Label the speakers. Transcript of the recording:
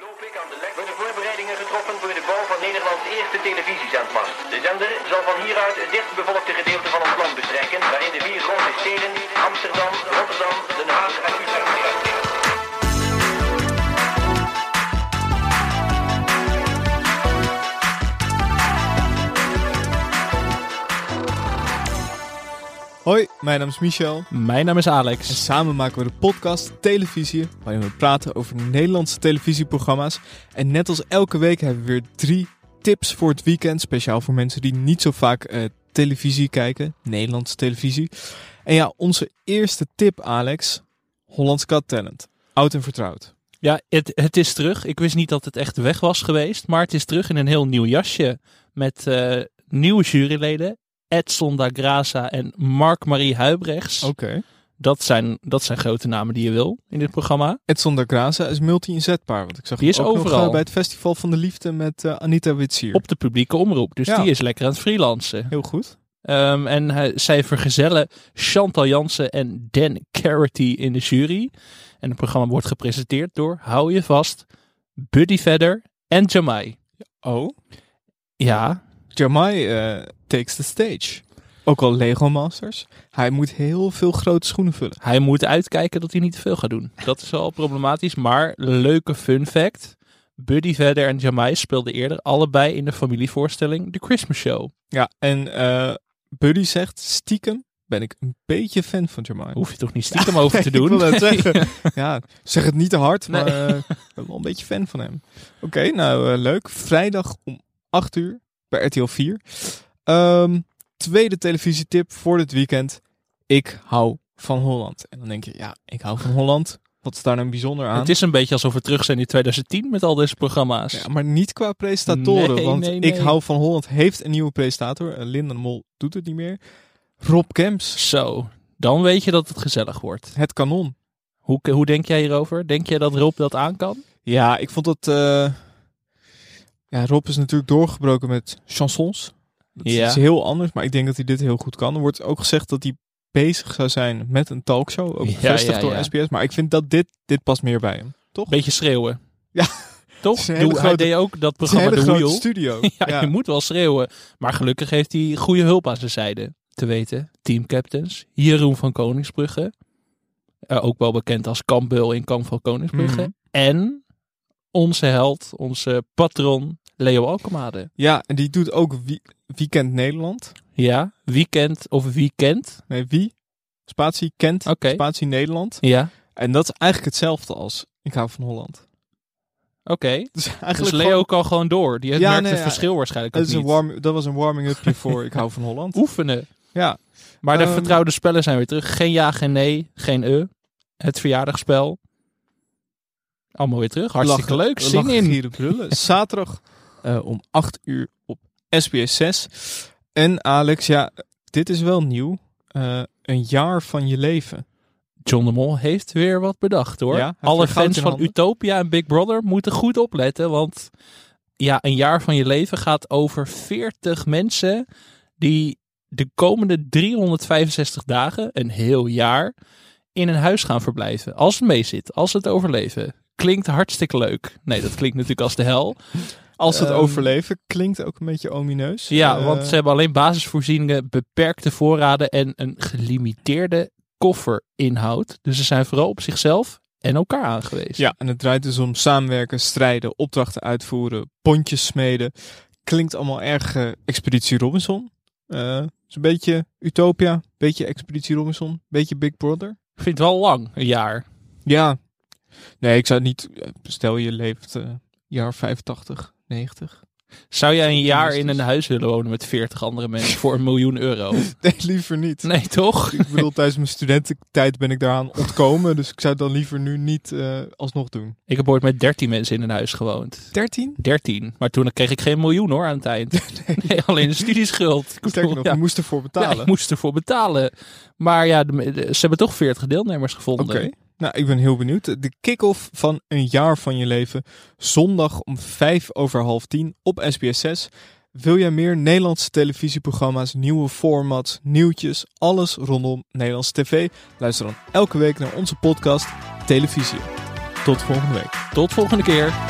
Speaker 1: ogenblik aan de lek worden voorbereidingen getroffen voor de bouw van Nederlands eerste televisiezendmast. De zender zal van hieruit het dichtbevolkte gedeelte van ons land bestrijken, waarin de vier grote steden Amsterdam, Rotterdam, Den Haag en Utrecht liggen.
Speaker 2: Hoi, mijn naam is Michel.
Speaker 3: Mijn naam is
Speaker 2: En
Speaker 3: Alex.
Speaker 2: samen maken we de podcast Televisie, waarin we praten over Nederlandse televisieprogramma's. En net als elke week hebben we weer drie tips voor het weekend, speciaal voor mensen die niet zo vaak eh, televisie kijken, Nederlandse televisie. En ja, onze eerste tip, Alex, Hollands Got Talent. Oud en vertrouwd.
Speaker 3: Ja, het, het is terug. Ik wist niet dat het echt weg was geweest, maar het is terug in een heel nieuw jasje met eh, nieuwe juryleden. Edson da Graza en Mark-Marie Huibrechts.
Speaker 2: Oké.
Speaker 3: Dat, zijn, dat zijn grote namen die je wil in dit programma.
Speaker 2: Edson da Graza is multi-inzetbaar, want ik zag
Speaker 3: Die
Speaker 2: hem
Speaker 3: is
Speaker 2: ook nog,
Speaker 3: overal.
Speaker 2: eh, bij het Festival van de Liefde met eh, Anita Witsier.
Speaker 3: Op de publieke omroep. Dus
Speaker 2: Ja.
Speaker 3: die is lekker aan het freelancen.
Speaker 2: Heel goed.
Speaker 3: Ehm, en hij- zij vergezellen Chantal Jansen en Dan Carity in de jury. En het programma wordt gepresenteerd door, hou je vast, Buddy Vedder en Jamai.
Speaker 2: Oh.
Speaker 3: Ja,
Speaker 2: Jamai eh, takes the stage. Ook al Lego Masters. Hij moet heel veel grote schoenen vullen.
Speaker 3: Hij moet uitkijken dat hij niet te veel gaat doen. Dat is al problematisch, maar leuke fun fact. Buddy Vedder en Jamai speelden eerder allebei in de familievoorstelling The Christmas Show.
Speaker 2: Ja, en eh, Buddy zegt stiekem ben ik een beetje fan van Jamai.
Speaker 3: Hoef je toch niet stiekem over te
Speaker 2: Ik
Speaker 3: doen?
Speaker 2: wil dat zeggen. ja, zeg het niet te hard,
Speaker 3: Nee.
Speaker 2: maar eh, ik ben wel een beetje fan van hem. Oké, nou eh, leuk. Vrijdag om 8 uur bij RTL 4. Ehm, tweede televisietip voor dit weekend. Ik hou van Holland. En dan denk je, ja, ik hou van Holland. Wat is daar nou bijzonder aan?
Speaker 3: Het is een beetje alsof we terug zijn in 2010 met al deze programma's.
Speaker 2: Ja, maar niet qua presentatoren.
Speaker 3: Nee,
Speaker 2: want
Speaker 3: nee,
Speaker 2: Ik
Speaker 3: nee.
Speaker 2: Hou van Holland heeft een nieuwe presentator. Eh, Linda de Mol doet het niet meer. Rob Kemps,
Speaker 3: Zo, dan weet je dat het gezellig wordt.
Speaker 2: het kanon.
Speaker 3: Hoe, hoe denk jij hierover? Denk jij dat Rob dat aan kan?
Speaker 2: Ja, ik vond dat... eh, Ja, Rob is natuurlijk doorgebroken met chansons. Dat is
Speaker 3: Ja.
Speaker 2: iets heel anders, maar ik denk dat hij dit heel goed kan. Er wordt ook gezegd dat hij bezig zou zijn met een talkshow. Ook
Speaker 3: Ja,
Speaker 2: bevestigd
Speaker 3: ja,
Speaker 2: door
Speaker 3: ja.
Speaker 2: SBS. Maar ik vind dat dit, dit past meer bij hem. Toch?
Speaker 3: Beetje schreeuwen.
Speaker 2: Ja. Het
Speaker 3: Toch?
Speaker 2: is een hele
Speaker 3: Doe, hij
Speaker 2: grote-
Speaker 3: deed ook dat
Speaker 2: Het is een
Speaker 3: programma
Speaker 2: hele
Speaker 3: The
Speaker 2: grote
Speaker 3: Wheel.
Speaker 2: studio.
Speaker 3: Ja, je moet wel schreeuwen. Maar gelukkig heeft hij goede hulp aan zijn zijde. Te weten, teamcaptains Jeroen van Koningsbrugge. eh, ook wel bekend als Kampbeul in Kamp van Koningsbrugge.
Speaker 2: Mhm.
Speaker 3: En onze held, onze patron Leo Alkemade.
Speaker 2: ja, en die doet ook wie- Weekend Nederland.
Speaker 3: Ja, weekend of weekend.
Speaker 2: Nee, wie? Spatie Kent,
Speaker 3: Oké.
Speaker 2: Spatie Nederland.
Speaker 3: Ja,
Speaker 2: En dat is eigenlijk hetzelfde als Ik hou van Holland.
Speaker 3: oké.
Speaker 2: Dus
Speaker 3: Dus
Speaker 2: eigenlijk
Speaker 3: Leo
Speaker 2: gewoon-
Speaker 3: kan gewoon door. Die
Speaker 2: Ja,
Speaker 3: merkt
Speaker 2: nee,
Speaker 3: het
Speaker 2: ja.
Speaker 3: verschil waarschijnlijk ook
Speaker 2: dat, is een
Speaker 3: niet.
Speaker 2: warm, dat was een warming-upje voor Ik hou van Holland.
Speaker 3: Oefenen.
Speaker 2: Ja,
Speaker 3: Maar de
Speaker 2: Ehm.
Speaker 3: vertrouwde spellen zijn weer terug. Geen ja, geen nee, geen e. Het verjaardagsspel. Allemaal weer terug. Hartstikke
Speaker 2: Lachen.
Speaker 3: leuk. Zin
Speaker 2: Lachen,
Speaker 3: in.
Speaker 2: gieren, brullen. Zaterdag eh, om 8 uur op SBS 6. En Alex, ja, dit is wel nieuw. Eh, een jaar van je leven.
Speaker 3: John de Mol heeft weer wat bedacht hoor.
Speaker 2: Ja, hij heeft weer
Speaker 3: Alle
Speaker 2: goud
Speaker 3: fans
Speaker 2: in
Speaker 3: van
Speaker 2: handen.
Speaker 3: Utopia en Big Brother moeten goed opletten. Want ja, een jaar van je leven gaat over 40 mensen die de komende 365 dagen, een heel jaar, in een huis gaan verblijven. Als het mee zit, als ze het overleven. Klinkt hartstikke leuk. Nee, dat klinkt natuurlijk als de hel.
Speaker 2: Als het
Speaker 3: Ehm.
Speaker 2: overleven klinkt ook een beetje omineus.
Speaker 3: Ja,
Speaker 2: Eh,
Speaker 3: want ze hebben alleen basisvoorzieningen, beperkte voorraden en een gelimiteerde kofferinhoud. Dus ze zijn vooral op zichzelf en elkaar aangewezen.
Speaker 2: Ja, en het draait dus om samenwerken, strijden, opdrachten uitvoeren, pontjes smeden. Klinkt allemaal erg eh, Expeditie Robinson. Eh, is een beetje Utopia, beetje Expeditie Robinson, beetje Big Brother.
Speaker 3: Ik vind het wel lang, een jaar.
Speaker 2: Ja. Nee, ik zou niet... eh, Stel je leeft eh, jaar 85, 90.
Speaker 3: Zou jij een
Speaker 2: Optimistisch.
Speaker 3: jaar in een huis willen wonen met 40 andere mensen voor een miljoen euro?
Speaker 2: Nee, liever niet.
Speaker 3: Nee, toch?
Speaker 2: Ik bedoel, tijdens mijn studententijd ben ik daaraan ontkomen. Dus ik zou het dan liever nu niet eh, alsnog doen.
Speaker 3: Ik heb ooit met 13 mensen in een huis gewoond.
Speaker 2: 13?
Speaker 3: 13. Maar toen kreeg ik geen miljoen hoor aan het eind. Nee, alleen een studieschuld. Ik
Speaker 2: Sterker
Speaker 3: bedoel,
Speaker 2: nog,
Speaker 3: ja.
Speaker 2: je moest ervoor
Speaker 3: Ja,
Speaker 2: betalen.
Speaker 3: ik moest ervoor betalen. Maar ja, de- de- ze hebben toch 40 deelnemers gevonden.
Speaker 2: Oké. Nou, ik ben heel benieuwd. De kick-off van een jaar van je leven. Zondag om vijf over half tien op SBS 6. Wil jij meer Nederlandse televisieprogramma's, nieuwe formats, nieuwtjes, alles rondom Nederlandse tv? Luister dan elke week naar onze podcast Televisie. Tot volgende week.
Speaker 3: Tot volgende keer.